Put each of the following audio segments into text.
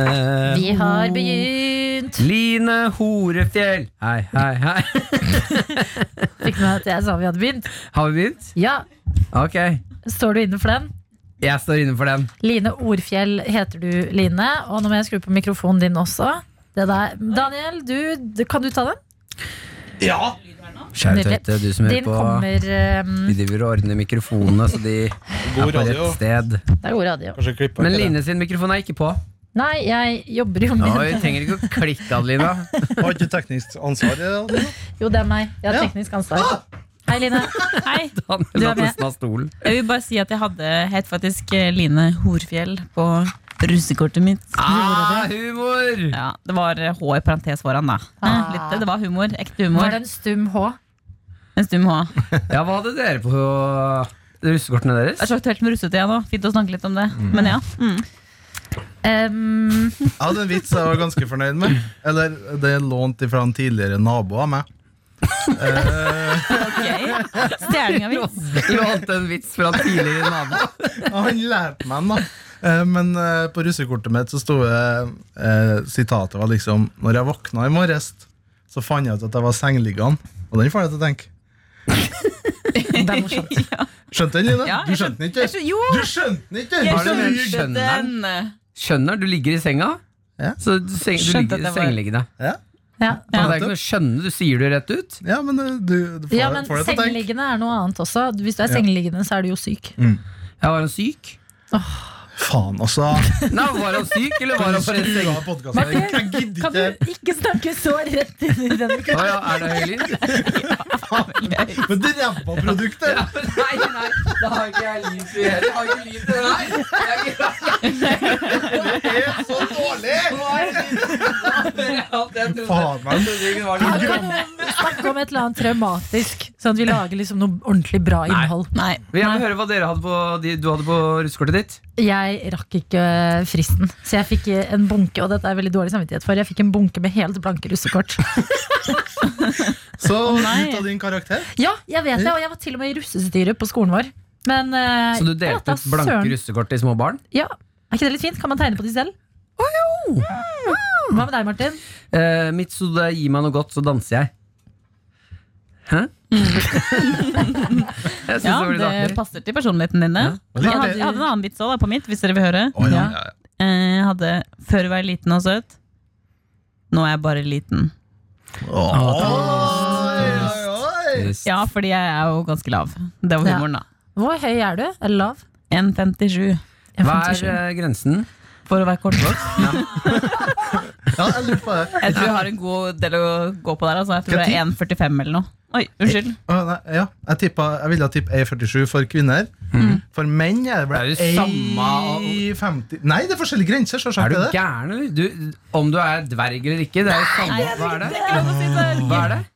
Line Vi har begynt! Line Horefjell! Hei, hei, hei. Fikk du med at jeg sa vi hadde begynt? Har vi begynt? Ja, Ok. står du inne for den? Jeg står inne for den. Line Orfjell heter du, Line. Og nå må jeg skru på mikrofonen din også. Det der. Daniel, du, du, kan du ta den? Ja! Kjære Nydelig. tøyte, du som hører Din på. kommer ehm, Vi driver og ordner mikrofonene så de er God på radio. rett sted. Det er god radio. Kanskje klipper Men ikke det. Line sin mikrofon er ikke på. Nei, jeg jobber jo med Oi, trenger ikke å klikke, Adelina. Har ikke du teknisk ansvar? i det, Adelina? Jo, det er meg. Jeg har Ja. Ah, teknisk ansvar. Hei, Line. Hei. Han Du er datt med. nesten av stolen. Jeg vil bare si at jeg hadde het faktisk eh, Line Horfjell på russekortet mitt. Ah, humor! Ja, Det var eh, H i parentes foran, da. Eh, Ah. Litt, det var humor. Ekte Var humor. det en stum H? En stum H. Ja, hva hadde dere på russekortene Det er deres? så aktuelt med russetida nå. Fint å snakke litt om det. Men ja. Mm. Ehm, Jeg hadde en vits jeg var ganske fornøyd med. Eller det er lånt ifra en tidligere nabo av meg. Eh, Ok. Stjeling av vits. Lånte en vits fra tidligere nabo. han lærte meg den, da. Eh, men eh, på russekortet mitt så sto det eh, Sitatet var liksom Når jeg våkna i morges, så fant jeg ut at jeg var sengeliggende. Og den får jeg til å tenke. det er morsomt. Skjønte den, Line? Ja, jeg du skjønte den ikke? Jeg skjønte- Jo! Du skjønte den ikke! Jeg Har du den? skjønte Skjønner den. Skjønner, du ligger i senga. Ja. Så du, seng, du Skjønte at ligger det var- sengeliggende. Ja. Det Ja. er ikke noe å skjønne, du sier det rett ut. Ja, men eh, du, du får, ja, men får det til å tenke. sengeliggende er noe annet også. Hvis du er Ja. sengeliggende, så er du jo syk. Ja, var han syk? Faen, altså. Nei, var han syk, eller var han på rett Skru seng? av podkasten. Jeg Kan gidder ikke. du ikke snakke så rett inn i den Å ja, er det høy lyd? Men det ræva produktet! Nei, nei, det har ikke jeg lyd til å gjøre. Jeg har ikke lyd til det her. Det er så dårlig! Faen, mann. Snakke om et eller annet traumatisk, sånn at vi lager liksom noe ordentlig bra innhold. Nei. Vil gjerne høre hva dere hadde på, de, du hadde på russekortet ditt. Jeg rakk ikke eh, fristen, så jeg fikk eh, en bunke, og dette er veldig dårlig samvittighet for, jeg fikk en bunke med helt blanke russekort. Så nei. ut av din karakter. Ja, jeg vet det, og jeg var til og med i russestyret på skolen vår. Men eh, Så du jeg vet delte da ut blanke søren. russekort til små barn? Ja, Er ikke det litt fint? Kan man tegne på de selv? Mm. Hva med deg, Martin? Eh, mitt så det gi meg noe godt, så danser jeg. Hæ? jeg syns det Ja, var litt det artig. passer til personligheten din. det. Men Jeg det- hadde, jeg hadde en annen vits òg, på mitt, hvis dere vil høre. Å, ja, ja, ja. Eh, Jeg hadde før var jeg liten og søt. Nå er jeg bare liten. Oi, oi, oi. Trist. Ja, fordi jeg er jo ganske lav. Det var Ja. humoren, da. Hvor høy er du? Eller lav? 1,57 Hva er eh, grensen? for å være kortvokst. Ja, jeg lurer på det. Jeg tror jeg har en god del å gå på der. Altså. Jeg tror det er 1,45 eller noe. Oi, unnskyld. Å, nei, ja, jeg, tippet, jeg ville ha tippet A47 for kvinner. For menn er det vel Mm. Det er jo samme- A50 Nei, det er forskjellige grenser. Så Er du det. gæren? eller? Du, om du er dverg eller ikke, det er jo samme Hva er det? Hva er det?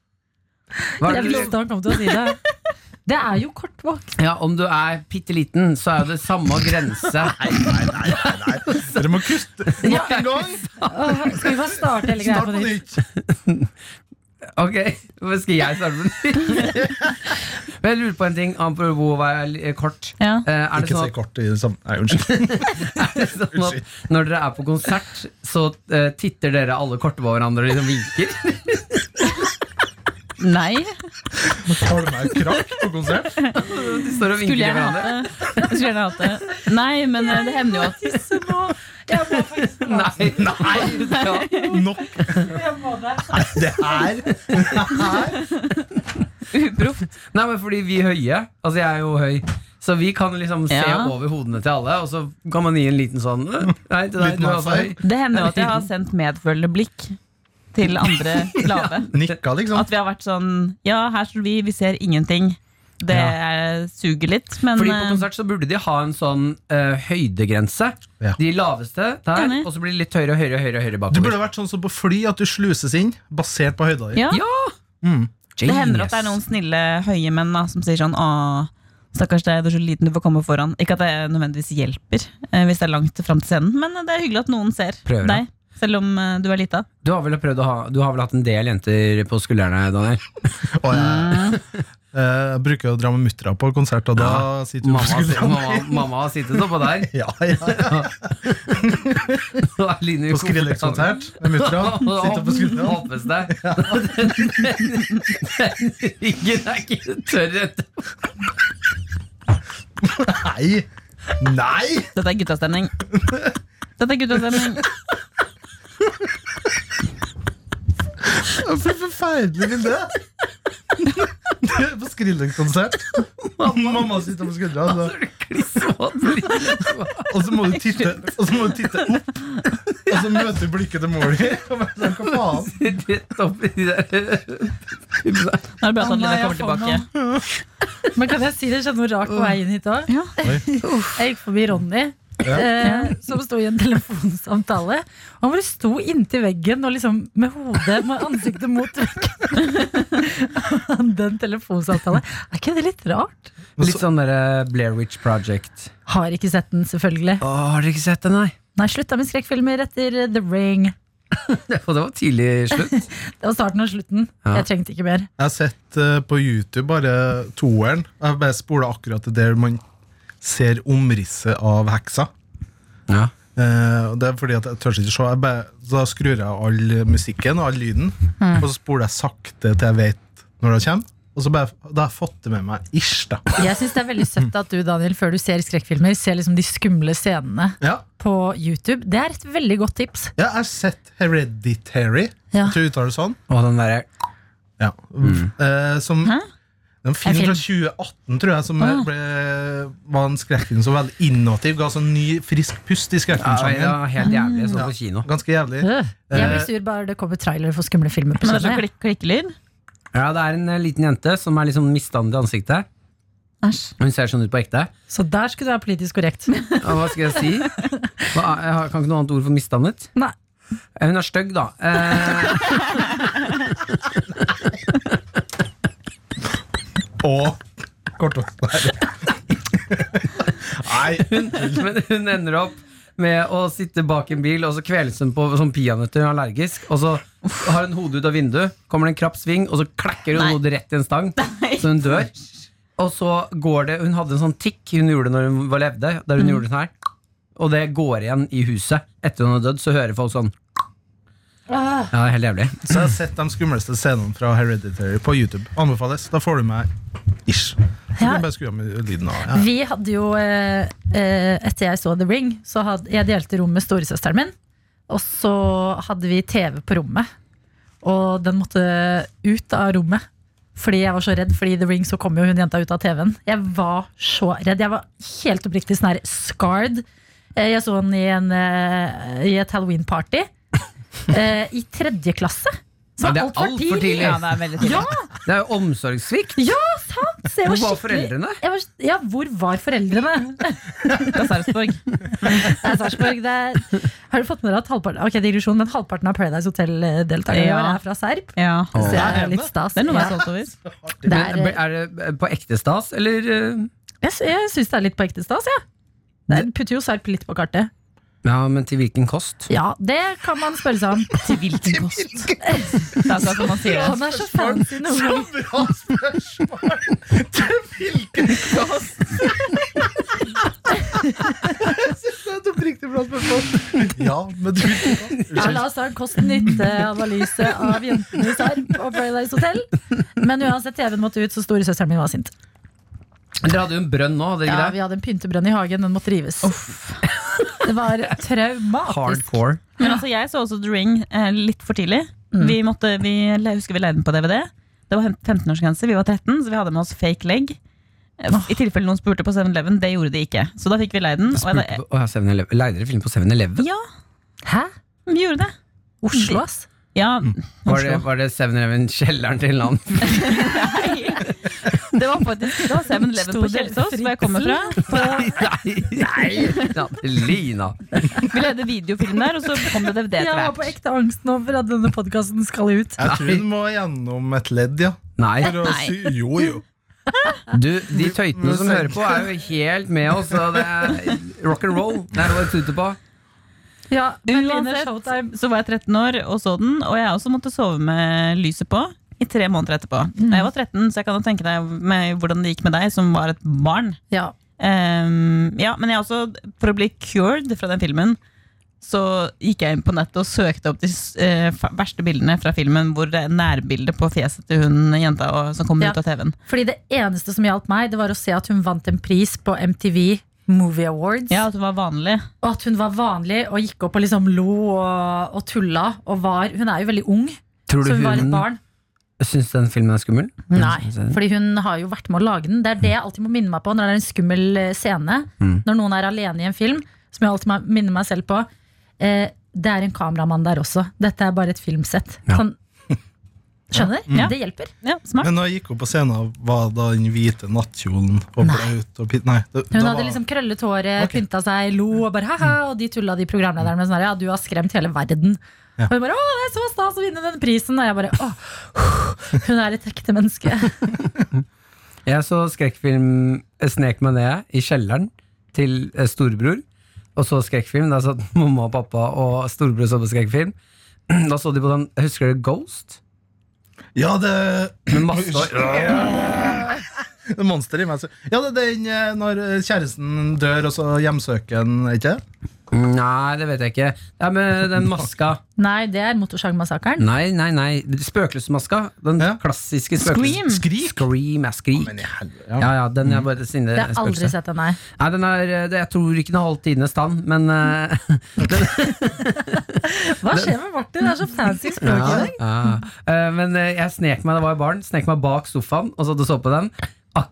Hva er Jeg det? visste han kom til å si det. Det er jo kortvokst. Ja, om du er bitte liten, så er jo det samme grense. Nei, nei, nei, nei. Dere må kutte nok en gang. Åh, Skal vi bare starte hele greia Start på på nytt? nytt. Ok, hva skal jeg starte med? Men jeg lurer på en ting apropos å være li- kort. Ja. Eh, Er det Ikke sånn si at, kort i det samme Nei, unnskyld. er det sånn at når dere er på konsert, så eh, titter dere alle korte på hverandre og liksom vinker? Nei, Har du meg krakk på konsert? De står og vinker til skulle jeg hverandre. hatt det? Skulle gjerne hatt det. Nei, men eh, det hender jo at Nei, nei, ja. Nok. Nei, det her Uproft. nei, men fordi vi høye Altså, jeg er jo høy. Så vi kan liksom se Ja. over hodene til alle, og så kan man gi en liten sånn eh, Nei, til deg, Liten du er også høy. high Det hender jo at jeg har sendt medfølende blikk til andre lave. Nikka, liksom. At vi har vært sånn Ja, her står vi, vi ser ingenting. Det eh, suger litt, men Fordi på eh, konsert så burde de ha en sånn eh, høydegrense. Ja. De laveste der, Enig. og så blir det litt høyere og høyere, og høyere, og høyere Du bakover. burde vært sånn som på fly, at du sluses inn basert på høyda di. ja, Ja! Det hender at det er noen snille høye menn da, som sier sånn Å, stakkars deg, du er så liten, du får komme foran. Ikke at det nødvendigvis hjelper eh, hvis det er langt fram til scenen, men det er hyggelig at noen ser Prøver, da. deg. selv om eh, du er lita. Du har vel prøvd å ha Du har vel hatt en del jenter på skuldrene, Daniel? Og jeg, eh, jeg bruker å dra med muttra på konsert, og da sitter hun på Mamma, skuldrene. mamma, mamma har sittet oppå der. Ja, ja, ja. Nå er Line På Skrillex-konsert med muttra. Sitter på skuldrene. Hoppes deg. Den, den, den ryggen er ikke tørr etterpå. Nei! Nei! Dette er guttastemning. Dette er guttastemning. For forferdelig bilde! Du er på Skrillex-konsert. Mamma sitter på skuldra, Så så- er det klissvåt brille. og så må du titte Og så må du titte opp, og så møter du blikket til mor di. og bare sånn, Hva faen? Rett opp i de der puppene. Nå er Å, nei, det bra at Adeline jeg kommer får tilbake. Men kan jeg si det skjedde noe rart på vei inn hit òg? Ja. Jeg gikk forbi Ronny, Ja. eh, som sto i en telefonsamtale. Og han bare sto inntil veggen og liksom med hodet med ansiktet mot veggen. Den telefonsamtalen. Er ikke det litt rart? Litt sånn der Blair Witch Project. Har ikke sett den, selvfølgelig. Å, har dere ikke sett den, nei? Nei, slutta med skrekkfilmer etter The Ring. Det var det var tidlig slutt. Det var starten og slutten. Ja. Jeg trengte ikke mer. Jeg har sett eh, på YouTube bare toeren. og Jeg bare spoler akkurat til der man ser omrisset av heksa. Ja. Eh, og det er fordi at jeg tør ikke se. Jeg bare, så da skrur jeg av all musikken og all lyden, og så spoler jeg sakte til jeg vet når det kommer. Og så bare, da har jeg fått det med meg ish, da. Jeg syns det er veldig søtt at du, Daniel, før du ser skrekkfilmer, ser liksom de skumle scenene Ja, på YouTube. Det er et veldig godt tips. ja jeg har sett Hereditary, Ja. jeg tror jeg uttaler det sånn. Og den derre Ja. Mm. Eh, som Hæ? En film En fra 2018, tror jeg, som Ah. ble, var en skrekkfilm som var veldig innovativ. Ga sånn ny, frisk pust ja, i ja, skrekkfilmsjangeren. helt jævlig. Jeg så på kino. Ganske jævlig. Øh. Jeg blir Eh. sur bare det kommer trailere for skumle filmer på Men det er så søndag. jeg. klik klikkelyd. Ja, det er en eh, liten jente som er liksom misdannet i ansiktet. Æsj. Hun ser sånn ut på ekte. Så der skulle du være politisk korrekt. Ja, hva skal jeg si? Hva, jeg har- kan ikke noe annet ord for misdannet. Nei. Eh, Hun er stygg, da. Eh, Og kort og Nei. men hun ender opp med å sitte bak en bil, og så kveles hun på som peanøtter. Hun er allergisk. Og så har hun hodet ut av vinduet, kommer det en krapp sving, og så klekker hun Nei. hodet rett i en stang. Så hun dør. Og så går det Hun hadde en sånn tikk hun gjorde når hun var levde, der hun Mm. gjorde sånn her. Og det går igjen i huset. Etter hun har dødd, så hører folk sånn. Ah. Ja, det er helt jævlig. Så jeg har sett de skumleste scenene fra Hereditary på YouTube. Anbefales. Da får du meg ish. Så Ja. kan du bare skru av med lyden av. Ja. Vi hadde jo, eh, eh, etter jeg så The Ring, så hadde jeg delte rom med storesøsteren min. Og så hadde vi TV på rommet. Og den måtte ut av rommet. Fordi jeg var så redd, fordi i The Ring så kom jo hun jenta ut av TV-en. Jeg var så redd. Jeg var helt oppriktig sånn her scarred. Eh, Jeg så den i, en, eh, i et Halloween-party. Eh, I tredje klasse. Så Ja, det er alt var alt for tidlig. tidlig. Ja, det er veldig tidlig. Ja, Det er jo omsorgssvikt. ja, sant! Så jeg Hvor var skikkelig- foreldrene? Jeg var, ja, hvor var foreldrene? Fra Sarpsborg. Det er Sarpsborg. Det er, har du fått med deg at halvparten, ok, digresjon, men halvparten av Paradise Hotel-deltakerne i Ja. år er fra Serp? Ja. Så det det er er det. litt stas. Det er noe jeg Ja. er stolt over. Det Men, er, Er det på ekte stas, eller eh, jeg sy- jeg syns det er litt på ekte stas, jeg. Ja. Det putter jo Serp litt på kartet. Ja, men til hvilken kost? Ja, det kan man spørre seg om. Til hvilken kost? Det er sånn man sier Han det. er så fancy noen ganger. bra spørsmål! Til hvilken kast? Jeg synes det er et oppriktig bra spørsmål. Ja, men du Ja, la oss ha en kost-nytte-analyse av jentene i Serp og Paradise Hotel. Men uansett, TV-en måtte ut, så storesøsteren min var sint. Dere hadde jo en brønn nå, hadde dere Ja, ikke det? vi hadde en pyntebrønn i hagen, den måtte rives. Det var traumatisk. Hardcore. Men altså, jeg så også The Ring eh, litt for tidlig. Mm. Vi måtte, vi, jeg husker vi leide den på DVD. Det var 15-årsgrense, vi var 13, så vi hadde med oss fake leg. Eh, I tilfelle noen spurte på 7-Eleven, det gjorde de ikke. Så da fikk vi leid den. Og Spurte jeg, på- Å, ja, 7-Eleven. Leide dere film på 7-Eleven? ja, Hæ? "Mm, vi gjorde det. Oslo, ass? Ja, Var det, var det 7-Eleven kjelleren til en annen? Nei. Det var faktisk det var 7-Eleven Sto på det Kjelsås, hvor jeg kommer fra. Nei! Nei. Lina. Vi leide videofilm der, og så kom det DVD Jeg etter var på hvert. ekte angst nå for at denne podkasten skal ut. Jeg tror den må gjennom et ledd, ja. Nei. For å sy jo, jo. Du, de tøytene som hører på, er jo helt med oss. Og det er rock and roll. Det er det vi tuter på. Ja, men Lina Uansett Showtime så var jeg 13 år og så den, og jeg også måtte sove med lyset på i tre måneder etterpå. Da Jeg var 13, så jeg kan jo tenke deg med hvordan det gikk med deg som var et barn. Ja. Ehm, ja, men jeg også, for å bli cured fra den filmen, så gikk jeg inn på nettet og søkte opp de s- eh, fa- verste bildene fra filmen, hvor det er nærbildet på fjeset til hun jenta og, som kommer Ja. ut av TV-en. Fordi det eneste som hjalp meg, det var å se at hun vant en pris på MTV Movie Awards. Ja, at hun var vanlig. Og at hun var vanlig og gikk opp og liksom lo og, og tulla. Og var, hun er jo veldig ung, Tror så du hun var et hun barn. syns den filmen er skummel? Nei, fordi hun har jo vært med å lage den. Det er det jeg alltid må minne meg på når det er en skummel eh, scene. Mm. Når noen er alene i en film, som jeg alltid må- minner meg selv på. Eh, det er en kameramann der også. Dette er bare et filmsett. Ja. Sånn, skjønner? Ja. Det hjelper. Ja, smart. Men da jeg gikk opp på scenen, var da den hvite nattkjolen og Nei. blaut og pit... Nei. Det, Hun da hadde var- liksom krøllet håret, Ok. pynta seg, lo og bare ha-ha, og de tulla de programlederne med sånn her, ja, du har skremt hele verden. Ja. Og hun bare 'Å, det er så stas å vinne den prisen', og jeg bare 'Å, hun er et ekte menneske'. Jeg så skrekkfilm eh, Snek meg ned i kjelleren til eh, storebror. Og så skrekkfilm. Da satt mamma og pappa og storebror så på skrekkfilm. Da så de på den Husker du Ghost? Ja, det Med masse Det er monster i meg. så- Ja, det er den eh, når eh, kjæresten dør, og så hjemsøker han, ikke Nei, det vet jeg ikke. Det er med den maska. Nei, det er Motorsagmassakren. Nei, nei, nei. Spøkelsesmaska. Den Ja. klassiske spøkelses... Scream. Scream, ja, skrik. Men i helvete. Ja. Ja, ja, den er bare sinne Det har jeg aldri spøkelse. sånn. sett, nei. Nei, den er, eh, det, jeg tror ikke den har holdt tidenes stand, men eh, Hva skjer med Martin? Det er så fancy språk ja, i dag. ja. Eh, Men eh, jeg snek meg, det var jeg barn, snek meg bak sofaen og så hadde jeg så på den.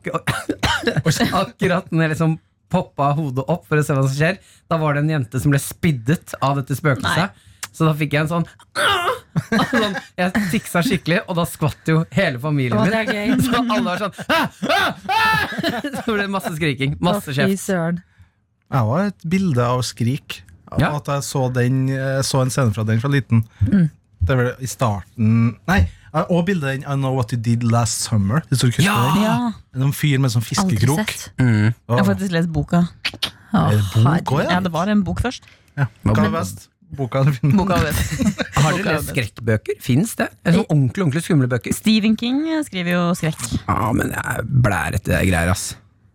Akkurat, akkurat når jeg liksom poppa hodet opp for å se hva som skjer, da var det en jente som ble spiddet av dette spøkelset. Så da fikk jeg en sånn, og sånn Jeg tiksa skikkelig, og da skvatt jo hele familien Å, min. det er gøy. Så alle var sånn «Æ, æ, æ!» Så ble det masse skriking. Masse Å, fy kjeft. søren. Jeg har et bilde av Skrik. Ja. At jeg så, den, jeg så en scene fra den fra liten. Det er vel i starten Nei, jeg har også bildet av den I Know What You Did Last Summer. Hvis du ikke husker Ja! den. Ja. Det er En fyr med sånn Aldri fiskekrok. sett. Mm. Jeg Åh, har faktisk lest boka. Å, Er det bok også, herregud. ja? Ja, det var en bok først. Ja. Hva er best? Boka eller filmen? Boka var best. Har dere lest skrekkbøker? Fins det? Eller Sånn ordentlig ordentlig skumle bøker? Stephen King skriver jo skrekk. Ja, men jeg blærete greier, ass.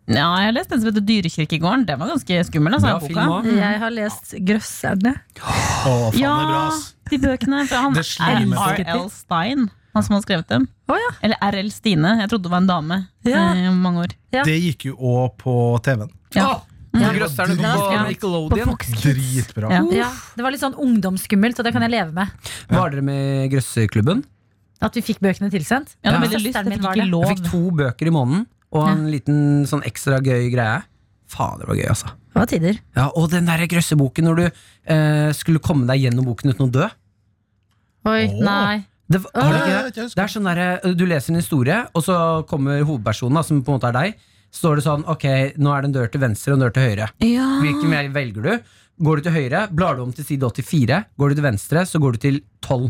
Ja, jeg har lest den som heter Dyrekirkegården. Den var ganske skummel. Altså, Bra boka. film òg. Jeg har lest Grøsserne. Å, faen, det Ja, er bra, ass. de bøkene fra han Det slenger meg på. R.L. Stein, han som har skrevet dem. Å ja. Eller R.L. Stine. Jeg trodde det var en dame Ja. eh, i mange år. Ja. Det gikk jo òg på TV-en. Ja. Ja. Grøsserne Ja, på ja. På Nickelodeon. Dritbra. Ja. Ja, det var litt sånn ungdomsskummelt, og det kan jeg leve med. Var dere med i Grøsseklubben? At vi fikk bøkene tilsendt. Jeg hadde Ja. veldig lyst, Søsteren jeg min fikk var ikke det. lov. Jeg fikk to bøker i måneden og en liten sånn ekstra gøy greie. Fader, det var gøy, altså. Det var tider. Ja, og den derre grøsseboken når du eh, skulle komme deg gjennom boken uten å dø. Oi, Åh. nei. Det, var- har du ikke det? Ja, jeg husker. Det er sånn der, Du leser en historie, og så kommer hovedpersonen, da, som på en måte er deg. Så står det sånn Ok, nå er det en dør til venstre og en dør til høyre. Ja. Hvilken vei velger du? Går du til høyre, blar du om til side 84. Går du til venstre, så går du til 12.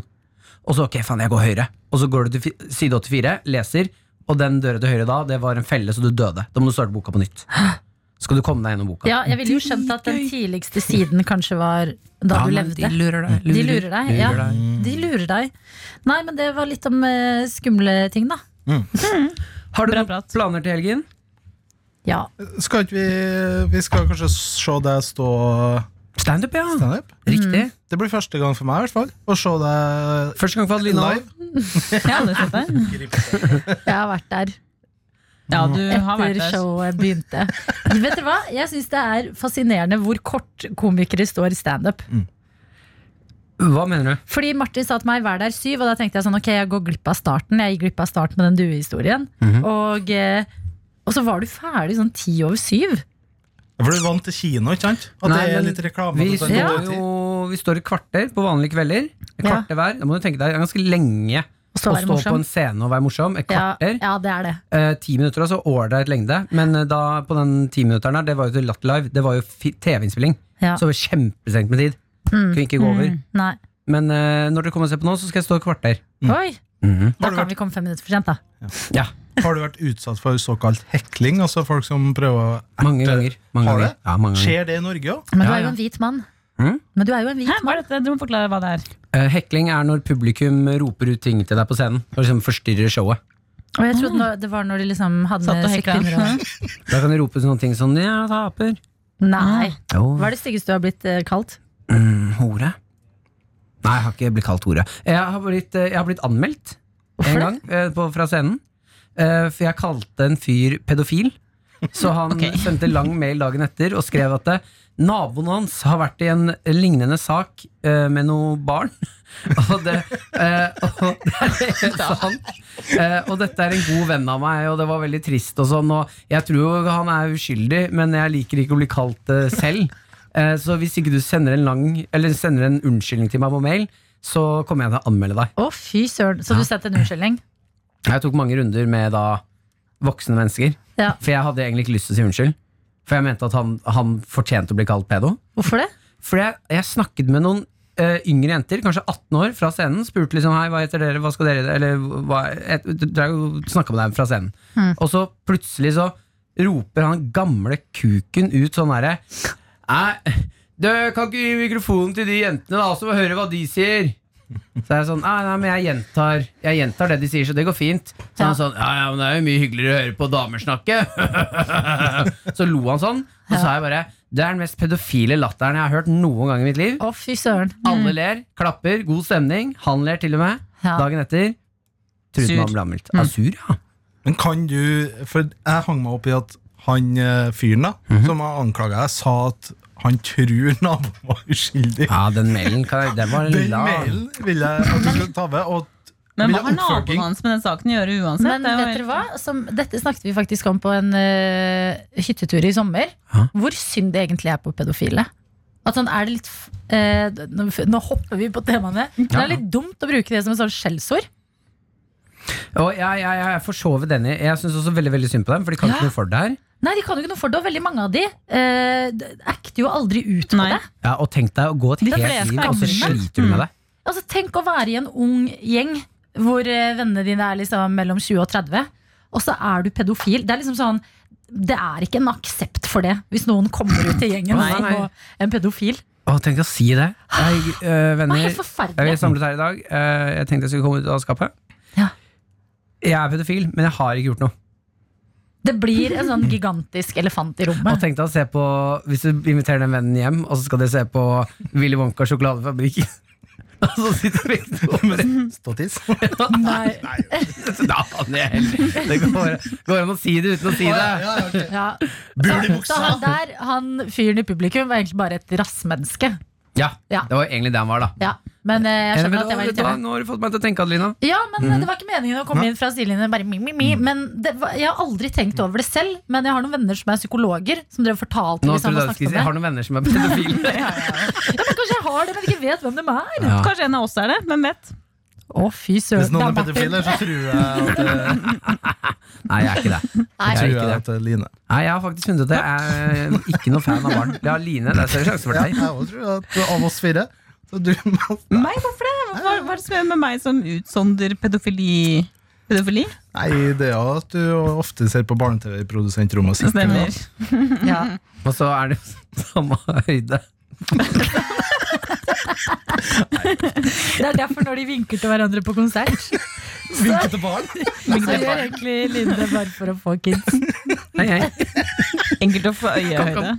Og så ok, faen, jeg går høyre. Og så går du til fi- side 84, leser, og den døra til høyre da, det var en felle, så du døde. Da må du starte boka på nytt. Skal du komme deg gjennom boka. Ja, jeg ville jo skjønt at den tidligste siden kanskje var da men du levde. lurer deg. De lurer deg, ja. lurer deg. De lurer deg. Nei, men det var litt om eh, skumle ting, da. Har du Bra noen prat. planer til helgen? Ja. Skal ikke vi Vi skal kanskje se deg stå Standup, ja. Mm. standup? Riktig. Det blir første gang for meg, i hvert fall. Å se deg Første gang for Adelina. live. Jeg har aldri sett deg. Jeg har vært der Ja, du har vært etter der. showet begynte. Vet dere hva? Jeg syns det er fascinerende hvor kort komikere står i standup. Hva mener du? Fordi Martin sa til meg hver der syv, og da tenkte jeg sånn, ok, jeg går glipp av starten. Jeg gikk glipp av starten med den duehistorien. og, eh, og så var du ferdig sånn ti over syv. For du er vant til kino, ikke sant? At Nei, det er men litt reklame. sånn Vi at det tar Ja. står litt tid. jo vi står i kvarter på vanlige kvelder. Et kvarter hver. Da må du tenke deg det er ganske lenge Og så å var det stå på en morsomt. scene og være morsom. Et Ja, kvarter. ja, det er det. Eh, Ti minutter, altså ålreit lengde. Men eh, da, på den timinutteren her, det var jo til Latter Live. Det var jo fi- TV-innspilling. Ja. Mm. Så det var kjempestrengt med tid. Kunne ikke gå over. Nei. Men eh, når dere kommer og ser på nå, så skal jeg stå et kvarter. Mhm. Oi, da Har du kan vi komme fem minutter for sent, da. Ja, Har du vært utsatt for såkalt hekling? Altså folk som prøver å mange ganger. Mange Har ganger. det? Ja, mange ganger. Skjer det i Norge òg? Men du Ja, er jo ja. en hvit mann. Mm. Men du er jo en hvit Hæ, hva er dette? Du må forklare hva det er. Eh, Hekling er når publikum roper ut ting til deg på scenen. For liksom forstyrrer showet. Og jeg trodde nå- det var når de liksom hadde Satt og med hekla. kvinner og Da kan de rope sånne ting som 'jeg taper'. Nei. Jo, Hva er det styggeste du har blitt eh, kalt? mm, hore. Nei, jeg har ikke blitt kalt hore. Jeg har blitt, eh, jeg har blitt anmeldt Hvorfor en gang eh, på, fra scenen. Eh, For jeg kalte en fyr pedofil. Så han Ok. sendte lang mail dagen etter og skrev at eh, naboen hans har vært i en lignende sak eh, med noen barn. og det, eh, og det er helt sant. Eh, og dette er en god venn av meg, og det var veldig trist. Og sånn, og jeg tror jo han er uskyldig, men jeg liker ikke å bli kalt det selv. Eh, så hvis ikke du sender en, lang, eller sender en unnskyldning til meg på mail, så kommer jeg til å anmelde deg. Å, fy søren. Så du sendte en unnskyldning? Jeg tok mange runder med da voksne mennesker. Ja. For jeg hadde egentlig ikke lyst til å si unnskyld. For jeg mente at han, han fortjente å bli kalt pedo. Hvorfor det? For jeg, jeg snakket med noen eh, yngre jenter, kanskje 18 år, fra scenen. Spurte liksom hei, hva heter dere, hva skal dere Eller hva et- drev og Snakka med dem fra scenen. Og så plutselig så roper han gamle kuken ut sånn herre Nei, du kan ikke gi mikrofonen til de jentene, da, så får vi høre hva de sier. Så er jeg sånn, nei, nei, men jeg gjentar, jeg gjentar det de sier, så det går fint. Så han sånn, ja, ja, men det er jo mye hyggeligere å høre på damer snakke. så lo han sånn, og så sa jeg bare, det er den mest pedofile latteren jeg har hørt noen gang i mitt liv. Å, fy søren. Alle ler, klapper, god stemning, han ler til og med. Ja. Mm. Dagen etter, Sur. Trude man ble anmeldt. Ja, sur, ja. Men kan du For jeg hang meg opp i at han eh, fyren da Mhm. som har anklaga deg, sa at han tror naboen var uskyldig. Ja, den mailen, kan jeg, den var Den lilla. mailen vil jeg at du skal ta med. Og Men Blir hva det har oppfølging? naboen hans med den saken å gjøre uansett? Men Det er jo vet dere hva? Som, dette snakket vi faktisk om på en eh, hyttetur i sommer. Hæ? Hvor synd det egentlig er på pedofile. At sånn er det litt f- eh, nå, nå hopper vi på temaene. Men Det Ja. er litt dumt å bruke det som et sånt skjellsord. Og jeg, jeg, jeg er for så vidt enig. Jeg synes også veldig, veldig synd på dem, for de kan Ja. ikke noe for det her. Nei, de kan jo ikke noe for det, og veldig mange av de eh, d- acter jo aldri ut på Nei. det. Ja, og tenk deg å gå et De helt fleste liv, og så er grunnen. sliter du med det. Altså, tenk å være i en ung gjeng hvor eh, vennene dine er liksom mellom 20 og 30, og så er du pedofil. Det er liksom sånn det er ikke en aksept for det, hvis noen kommer ut i gjengen Nei, nei. og en pedofil. Å, tenk å si det. Jeg, øh, Det venner, Ah, er helt jeg forferdelig. er samlet her i dag. Eh, jeg tenkte jeg skulle komme ut av skapet. Ja. Jeg er pedofil, men jeg har ikke gjort noe. Det blir en sånn gigantisk elefant i Og rommet. tenkte å se på, Hvis du inviterer den vennen hjem, og så skal dere se på Willy Wonka sjokoladefabrikk Og så sitter begge to over- Ståtiss. Nei. Da, Daniel, Det går går an å si det uten å si det. Ja. Bul i Så buksa! han der, han fyren i publikum, var egentlig bare et rassmenneske. Ja, Ja. Det var egentlig det han var, da. Ja. Men eh, jeg Eh, men skjønner at da- jeg var litt da- hjemme. Nå har du fått meg til å tenke, Adelina. Ja, men Mhm. det var ikke meningen å komme inn fra sidelinjen. Bare mi, mi, mi. Men det var, jeg har aldri tenkt over det selv, men jeg har noen venner som er psykologer. Som dere fortalte Nå hvis han trodde jeg du har skulle si snakket jeg har om det. noen venner som er pedofile. Ja, men Kanskje jeg har det, men ikke vet hvem de er. Ja. Kanskje en av oss er det, hvem vet? Å, fy Hvis søren. noen er det er Martin. pedofiler, så tror jeg at det, Nei, jeg er ikke det. Nei. Jeg er tror ikke jeg det. at det er Line. Nei, jeg har faktisk funnet ut det. Jeg er ikke noe fan av barn. Ja, Line, det er større sjanse for Ja, deg. jeg også tror at det er av oss fire. Så du Meg, hvorfor det? Hva, hva er det som er med meg som utsonder pedofili? Pedofili? Nei, det er jo at du ofte ser på barne-TV i produsentrommet sitt. Stemmer. Ja. Og så er det samme høyde. Det er derfor når de vinker til hverandre på konsert, Vinke til barn. så gjør egentlig Linde det bare for å få kids. Hei, hei. Enkelt å få øyehøyde.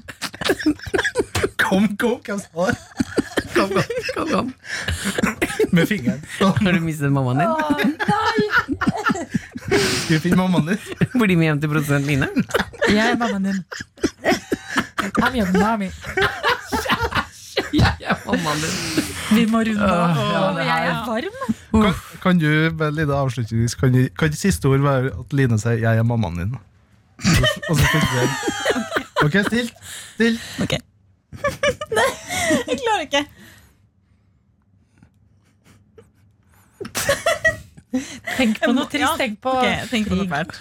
Kom, kom, hvem sa det? Kom, kom, kom, kom. Med fingeren. Har du mistet mammaen din? Å, nei! Skal vi finne mammaen din? Blir de med hjem til produsent Line? Jeg er mammaen din. I'm your mommy. Jeg er mammaen din. Vi må runde av. Ja, det Å, her- jeg er varm. Kan, kan du, bare litt avslutningsvis, kan, du- kan ikke siste ord være at Line sier 'jeg er mammaen din'? Og så- Og så slutter vi. Ok, still. still. Ok. Nei, jeg klarer ikke. Tenk på noe Ja, trist. Tenk på ok, jeg tenker på noe fælt.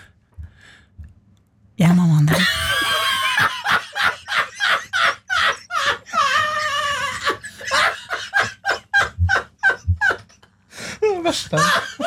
Jeg er mammaen din. Det var verst, det.